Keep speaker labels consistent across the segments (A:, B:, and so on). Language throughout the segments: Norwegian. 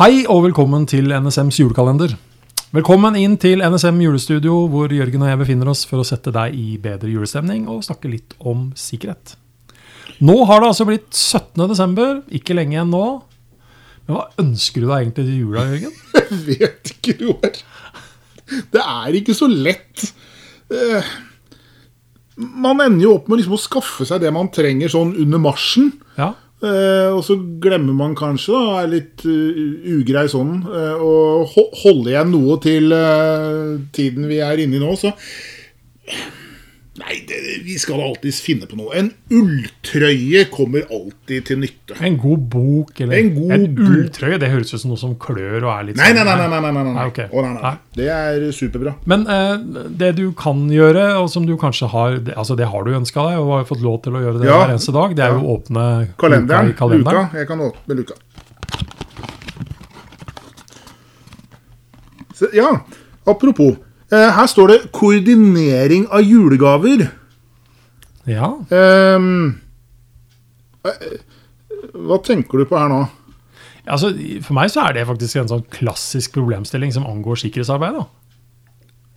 A: Hei og velkommen til NSMs julekalender. Velkommen inn til NSM julestudio, hvor Jørgen og jeg befinner oss for å sette deg i bedre julestemning og snakke litt om sikkerhet. Nå har det altså blitt 17. desember, ikke lenge igjen nå. Men hva ønsker du deg egentlig til jula, Jørgen?
B: Jeg vet ikke, Roar. Det er ikke så lett. Eh, Man ender jo opp med liksom å skaffe seg det man trenger sånn under marsjen.
A: Ja,
B: Eh, og så glemmer man kanskje, da, er litt eh, ugrei sånn, eh, og ho holder igjen noe til eh, tiden vi er inne i nå, så Nei, det, vi skal alltids finne på noe. En ulltrøye kommer alltid til nytte.
A: En god bok eller
B: En god
A: et
B: bok.
A: ulltrøye. Det høres ut som noe som klør og er litt
B: Nei, nei,
A: sånn-
B: nei. nei, nei, nei, nei, nei.
A: Nei, ok.
B: Å, nei, nei.
A: Nei.
B: Det er superbra.
A: Men eh, det du kan gjøre, og som du kanskje har det- altså Det har du ønska deg og har fått lov til å gjøre det
B: Ja.
A: hver eneste dag. Det er jo å åpne
B: Kalenderen.
A: luka i kalenderen.
B: Luka. Jeg kan åpne luka. Så, ja, apropos. Eh, her står det 'koordinering av julegaver'.
A: Ja.
B: Ehm, eh, hva tenker du på her nå?
A: Altså, for meg så er det faktisk en sånn klassisk problemstilling som angår sikkerhetsarbeid. Da.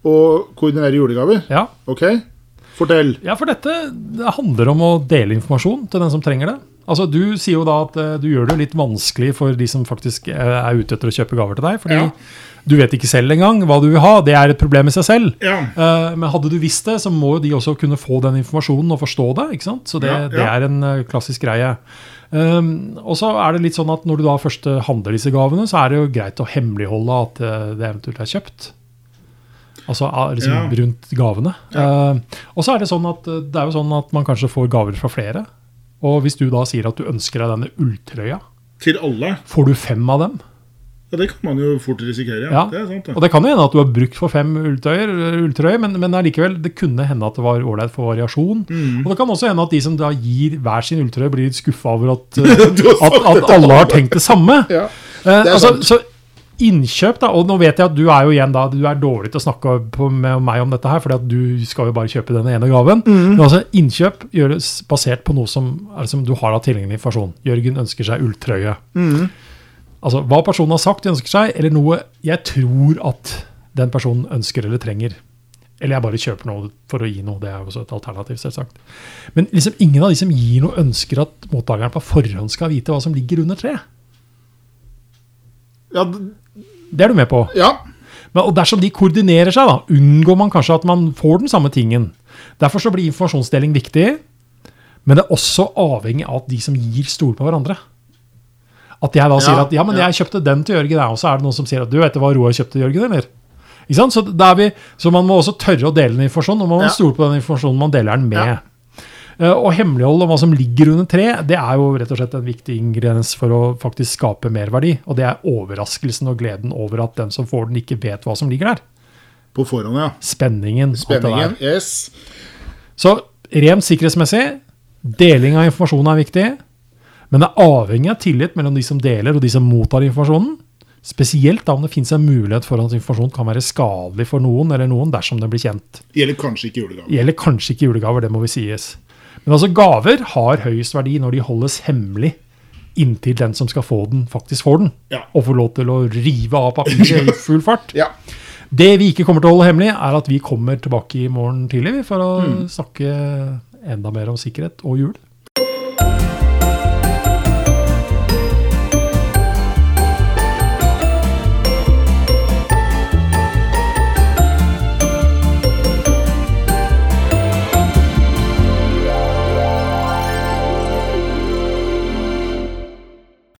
B: Å koordinere julegaver?
A: Ja.
B: Ok, fortell.
A: ja, for dette det handler om å dele informasjon til den som trenger det. Altså, Du sier jo da at eh, du gjør det litt vanskelig for de som faktisk eh, er ute etter å kjøpe gaver til deg. Fordi
B: Ja.
A: du vet ikke selv engang hva du vil ha. Det er et problem i seg selv.
B: Ja.
A: Eh, Men hadde du visst det, så må jo de også kunne få den informasjonen og forstå det. ikke sant? Så det,
B: Ja, ja.
A: det er en eh, klassisk greie. Um, og så er det litt sånn at Når du da først eh, handler disse gavene, så er det jo greit å hemmeligholde at eh, det eventuelt er kjøpt. Altså ah, liksom
B: Ja.
A: rundt gavene. Eh, og så er det sånn at eh, det er jo sånn at man kanskje får gaver fra flere. Og hvis du da sier at du ønsker deg denne ulltrøya,
B: Til alle?
A: får du fem av dem.
B: Ja, det kan man jo fort risikere.
A: Ja.
B: Ja. Det er sant, det.
A: Og det kan jo hende at du har brukt for fem ulltrøyer, ulltrøyer men, men allikevel, det kunne hende at det var ålreit for variasjon.
B: Mm.
A: Og det kan også hende at de som da gir hver sin ulltrøye, blir litt skuffa over at, eh,
B: Du har
A: at,
B: sagt
A: at
B: det.
A: alle har tenkt det samme.
B: Ja.
A: Eh,
B: Det er
A: altså, så innkjøp, da. Og nå vet jeg at du er jo igjen da, du er dårlig til å snakke på, med meg om dette her, fordi at du skal jo bare kjøpe den ene gaven.
B: Mm.
A: Men altså, innkjøp gjøres basert på noe som, er som du har av tilgjengelig informasjon. Jørgen ønsker seg ulltrøye.
B: Mm.
A: Altså, hva personen har sagt de ønsker seg, eller noe jeg tror at den personen ønsker eller trenger. Eller jeg bare kjøper noe for å gi noe. Det er jo også et alternativ, selvsagt. Men liksom ingen av de som gir noe, ønsker at mottakeren på forhånd skal vite hva som ligger under treet.
B: Ja, d-
A: Det er du med på.
B: ja.
A: Men, og dersom de koordinerer seg, da, unngår man kanskje at man får den samme tingen. Derfor så blir informasjonsdeling viktig, men det er også avhengig av at de som gir, stoler på hverandre. At jeg da sier at ja, men
B: ja.
A: jeg kjøpte den til Jørgen, jeg, og så er det noen som sier at du vet hva Roar kjøpte til Jørgen, eller? Ikke sant? Så, der vi, så man må også tørre å dele den informasjonen, og man må
B: Ja.
A: stole på den informasjonen man deler den med.
B: Ja.
A: Eh, Og hemmelighold om hva som ligger under tre, det er jo rett og slett en viktig ingrediens for å faktisk skape merverdi. Og det er overraskelsen og gleden over at den som får den, ikke vet hva som ligger der.
B: På forhånd, ja.
A: Spenningen. alt det der.
B: Spenningen. Yes.
A: Så rent sikkerhetsmessig, deling av informasjon er viktig. Men det er avhengig av tillit mellom de som deler og de som mottar informasjonen. Spesielt da om det finnes en mulighet for at informasjon kan være skadelig for noen eller noen dersom den blir kjent.
B: Det gjelder kanskje ikke julegaver.
A: gjelder kanskje ikke julegaver, det må vi sies. Men altså, gaver har høyest verdi når de holdes hemmelig inntil den som skal få den, faktisk får den.
B: Ja.
A: Og får lov til å rive av papiret i full fart.
B: Ja.
A: Det vi ikke kommer til å holde hemmelig, er at vi kommer tilbake i morgen tidlig vi, for å snakke enda mer om sikkerhet og jul.